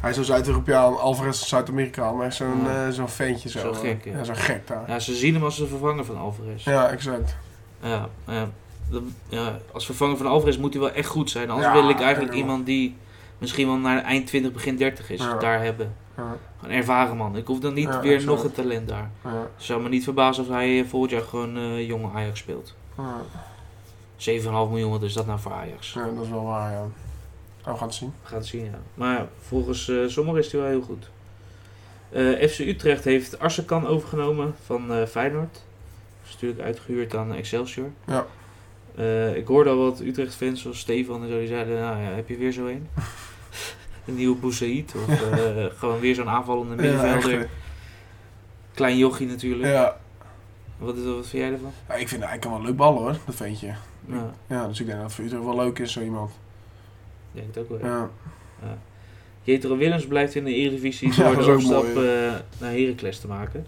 hij is zo'n Zuid-Europeaan, Alvarez is Zuid-Amerikaan, maar zo'n eh Ja. zo'n ventje zo. Zo'n Ah. gek, ja. ja. zo'n gek daar. Ja, ze zien hem als een vervanger van Alvarez. Ja. Ja, exact. eh, dat- ja, als vervanger van Alvarez moet hij wel echt goed zijn. Anders Ja, wil ik eigenlijk ja. iemand die misschien wel naar eind 20, begin 30 is. Ja. Daar hebben. Ja, Gewoon ervaren man. Ik hoef dan niet Ja, weer exact. nog een talent daar. ja, Zou me niet verbazen als hij eh, volgend jaar gewoon eh, jonge Ajax speelt. 7,5 miljoen, wat is dat nou voor Ajax? Ja, eh, dat is wel waar, ja. Oh, we gaan het zien. We gaan het zien, ja. Maar volgens eh, sommigen is hij wel heel goed. Eh, FC Utrecht heeft Arsenkan overgenomen van eh, Feyenoord. Is natuurlijk uitgehuurd aan Excelsior. Ja. Eh, ik hoorde al wat Utrecht-fans zoals Stefan en zo, die zeiden, nou ja, heb je weer zo <laughs> een? een nieuwe Boussaïd of eh, gewoon weer zo'n aanvallende middenvelder. Ja, echt, Klein jochie natuurlijk. eh, ja. Wat, is, wat vind jij ervan? Ja, ik vind hij kan wel leuk ballen hoor, dat vind je. Nou, Ja, dus ik denk dat het voor Utrecht wel leuk is, zo iemand. ik denk het ook wel. ja. Ja, Jetro Willems blijft in de Eredivisie Ja, door dat de is ook overstap mooi, eh, naar Heracles te maken.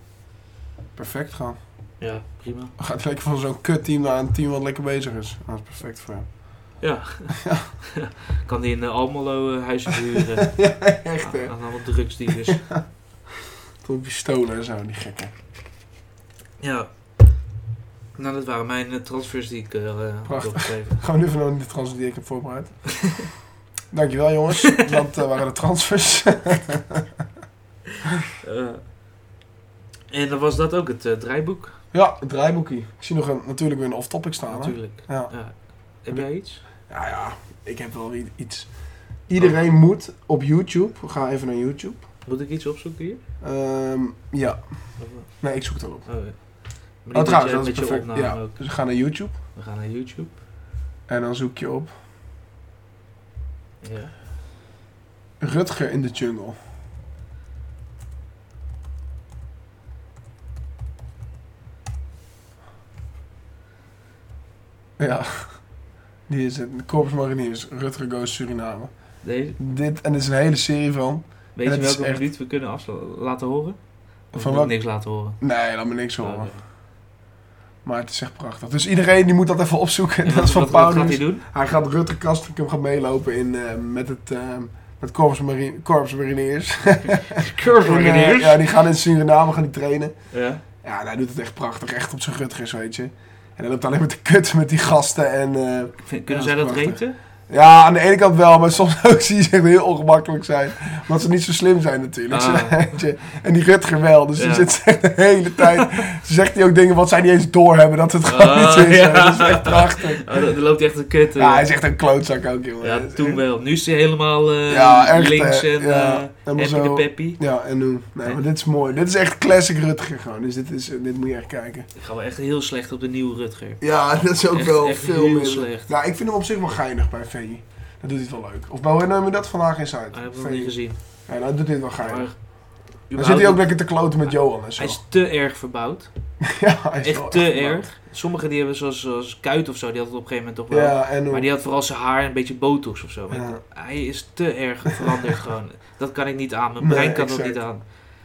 perfect gaan. Ja, prima. Dan gaat hij lekker van zo'n kutteam naar een team wat lekker bezig is. Dat is perfect voor hem. Ja. kan die in eh, Almelo eh, <laughs> huizen huren. ja, echt hè. Aan, aan alle drugsdealers. <laughs> Tot pistolen en zo, die gekken. ja. Nou, dat waren mijn eh, transfers die ik eh, had Prachtig. opgeschreven. Gaan we nu van de transfer die ik heb voorbereid. Dankjewel jongens, dat eh, waren de transfers. <laughs> Eh, en dan was dat ook het eh, draaiboek, ja, het draaiboekje. Ik zie nog een, natuurlijk weer een off-topic staan. hè. natuurlijk. Ja. Ja. Heb jij iets? Ja, ja, ik heb wel i- iets. Iedereen moet op YouTube. Ga even naar YouTube. Moet ik iets opzoeken hier? Ehm, ja, Of, eh, nee, ik zoek het al op. oh, ja. Maar Oh, niet trouwens, met dat je, is met je perfect. opname Ja, ook. dus ga naar YouTube We gaan naar YouTube. en dan zoek je op Ja. Rutger in de jungle. Ja, die is het. Corps Mariniers, Rutger Goes Suriname. Deze, Dit, en dit is een hele serie van. weet je het is welke echt- minuut we kunnen afsla- laten horen? Of Van moet ik wat? niks laten horen? Nee, laat me niks <laughs> Oh, horen. oké. Maar het is echt prachtig. Dus iedereen die moet dat even <laughs> opzoeken. En dat wat, is van wat, wat Paulus. gaat hij doen? Hij gaat Rutger Kastrikum gaan meelopen in, eh, met het eh, met Corps, Marine, Corps Mariniers. Curve En, eh, ja, die gaan in Suriname gaan die trainen. Ja. Ja, en hij doet het echt prachtig. Echt op zijn Rutgers, weet je. En hij loopt alleen maar te kut met die gasten. En, eh, Vind- Ja, Kunnen dat zij is dat prachtig. reten? ja, aan de ene kant wel, maar soms <laughs> ook zie je ze echt heel ongemakkelijk zijn. Omdat ze niet zo slim zijn natuurlijk. Ah. <laughs> weet je. En die Rutger wel, dus die Ja. zit echt de <laughs> hele tijd. Ze zegt hij ook dingen wat zij niet eens doorhebben dat het gewoon Ah, niet is. ja. Dat is echt prachtig. <laughs> Oh, dan, dan loopt hij echt een kut. eh. Ja, hij is echt een klootzak ook, jongen. Ja, Dat is toen echt- wel. Nu is hij helemaal eh, Ja, echt, links eh, en ja, eh, helemaal happy zo. de peppy. Ja, en nu. Nee, maar dit is mooi. Dit is echt classic Rutger gewoon. Dus dit, is, dit moet je echt kijken. Ik ga wel echt heel slecht op de nieuwe Rutger. Ja, <laughs> dat is ook Echt- wel echt veel heel meer. slecht. Nou, ik vind hem op zich wel geinig bij VI. Dat doet hij het wel leuk. Of bij hoe noem je dat vandaag eens uit? Maar dat heb ik nog niet gezien. Ja, nou doet hij het wel geinig. Maar, Dan zit hij ook überhaupt- lekker te kloten met Johan en zo. hij is te erg verbouwd. <laughs> ja, hij is wel Echt te echt erg. Sommigen die hebben zoals, zoens Kuit of zo, die had het op een gegeven moment toch wel. Ja, en Maar hoe? die had vooral zijn haar en een beetje botox of zo. Maar Ja. Hij is te erg <laughs> veranderd gewoon. Dat kan ik niet aan. Mijn Nee, brein kan dat exact. niet aan. En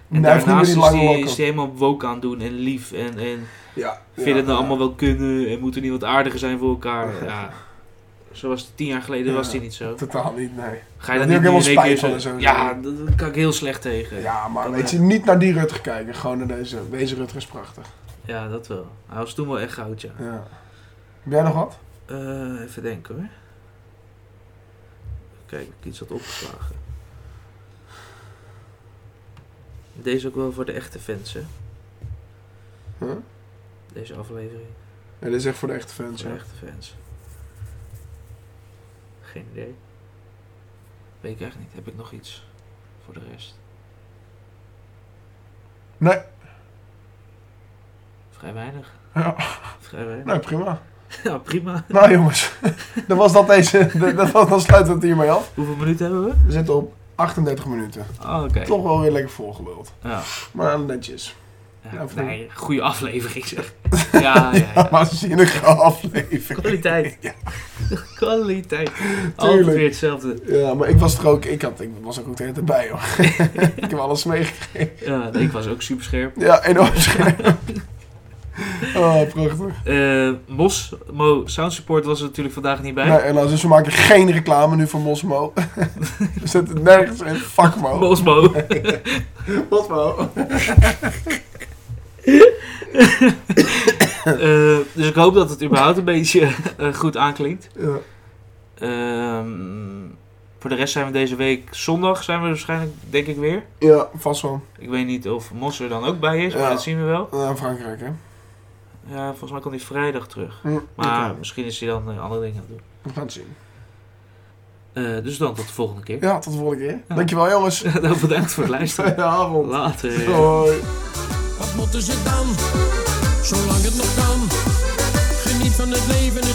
Nee, hij heeft niet meer daarnaast die is lange hij lokken. is hij helemaal woke aan het doen en lief en, en Ja. Vind je dat ja, nou ja. allemaal wel kunnen en moeten niet wat aardiger zijn voor elkaar? Ja. Zo was het tien jaar geleden, Ja. was die niet zo. Totaal niet, nee. Ga je Dat dat die niet ook helemaal in één keer spijt van en zo Ja, zijn. dat, dat kan ik heel slecht tegen. Ja, Ja, maar Dat weet wel. je, niet naar die Rutger kijken. Gewoon naar deze. Deze Rutger is prachtig. dat wel. Hij was toen wel echt goud, ja. Ja. Heb jij nog wat? Eh, even denken hoor. Kijk, ik iets had opgeslagen. Deze ook wel voor de echte fans, hè? Huh? Deze aflevering. Ja, dit is echt voor de echte fans, Voor ja. de echte fans. Geen idee. Weet ik echt niet. Heb ik nog iets voor de rest? Nee. Vrij weinig. Ja. Vrij weinig. Nou, <laughs> prima. Ja, prima. Nou jongens, <laughs> dat was dat deze. <laughs> Dat, dat was, dan sluiten we het hiermee af. Hoeveel minuten hebben we? We zitten op 38 minuten. Oh, oké. Toch wel weer lekker volgeluld. Ja. Maar netjes. Ja, Ja, voor- nee, goede aflevering <laughs> zeg. Ja, ja, ja. Maar zinnige aflevering. Kwaliteit. <laughs> Kwaliteit. Altijd Tuurlijk. weer hetzelfde. Ja, maar ik was er ook. Ik, had, ik was er ook de hele tijd bij hoor. <laughs> ik heb alles meegekregen. Ja, nee, ik was ook super scherp. Ja, enorm <laughs> scherp. Oh, prachtig. Eh, Mos, Mo Sound Support was er natuurlijk vandaag niet bij. Nou, helaas, dus we maken geen reclame nu van Mosmo. <laughs> we zetten het nergens in. Fuck Mo. Mos, Mo. <laughs> Mosmo. Eh, dus ik hoop dat het überhaupt een beetje eh, goed aanklinkt. Ja. Ehm, Voor de rest zijn we deze week zondag zijn we waarschijnlijk, denk ik, weer. Ja, vast wel. Ik weet niet of Mos er dan ook bij is, maar Ja. dat zien we wel. Eh, Frankrijk, hè? Ja, volgens mij komt hij vrijdag terug. Hm, Maar oké. misschien is hij dan eh, andere dingen aan het doen. We gaan het zien. Eh, dus dan tot de volgende keer. Ja, tot de volgende keer. Ja. Oh. Dankjewel, jongens. <laughs> Nou, bedankt voor het luisteren. <laughs> Fijne avond. Later. Hoi. Wat moeten ze dan? Zolang het nog kan. Geniet van het leven en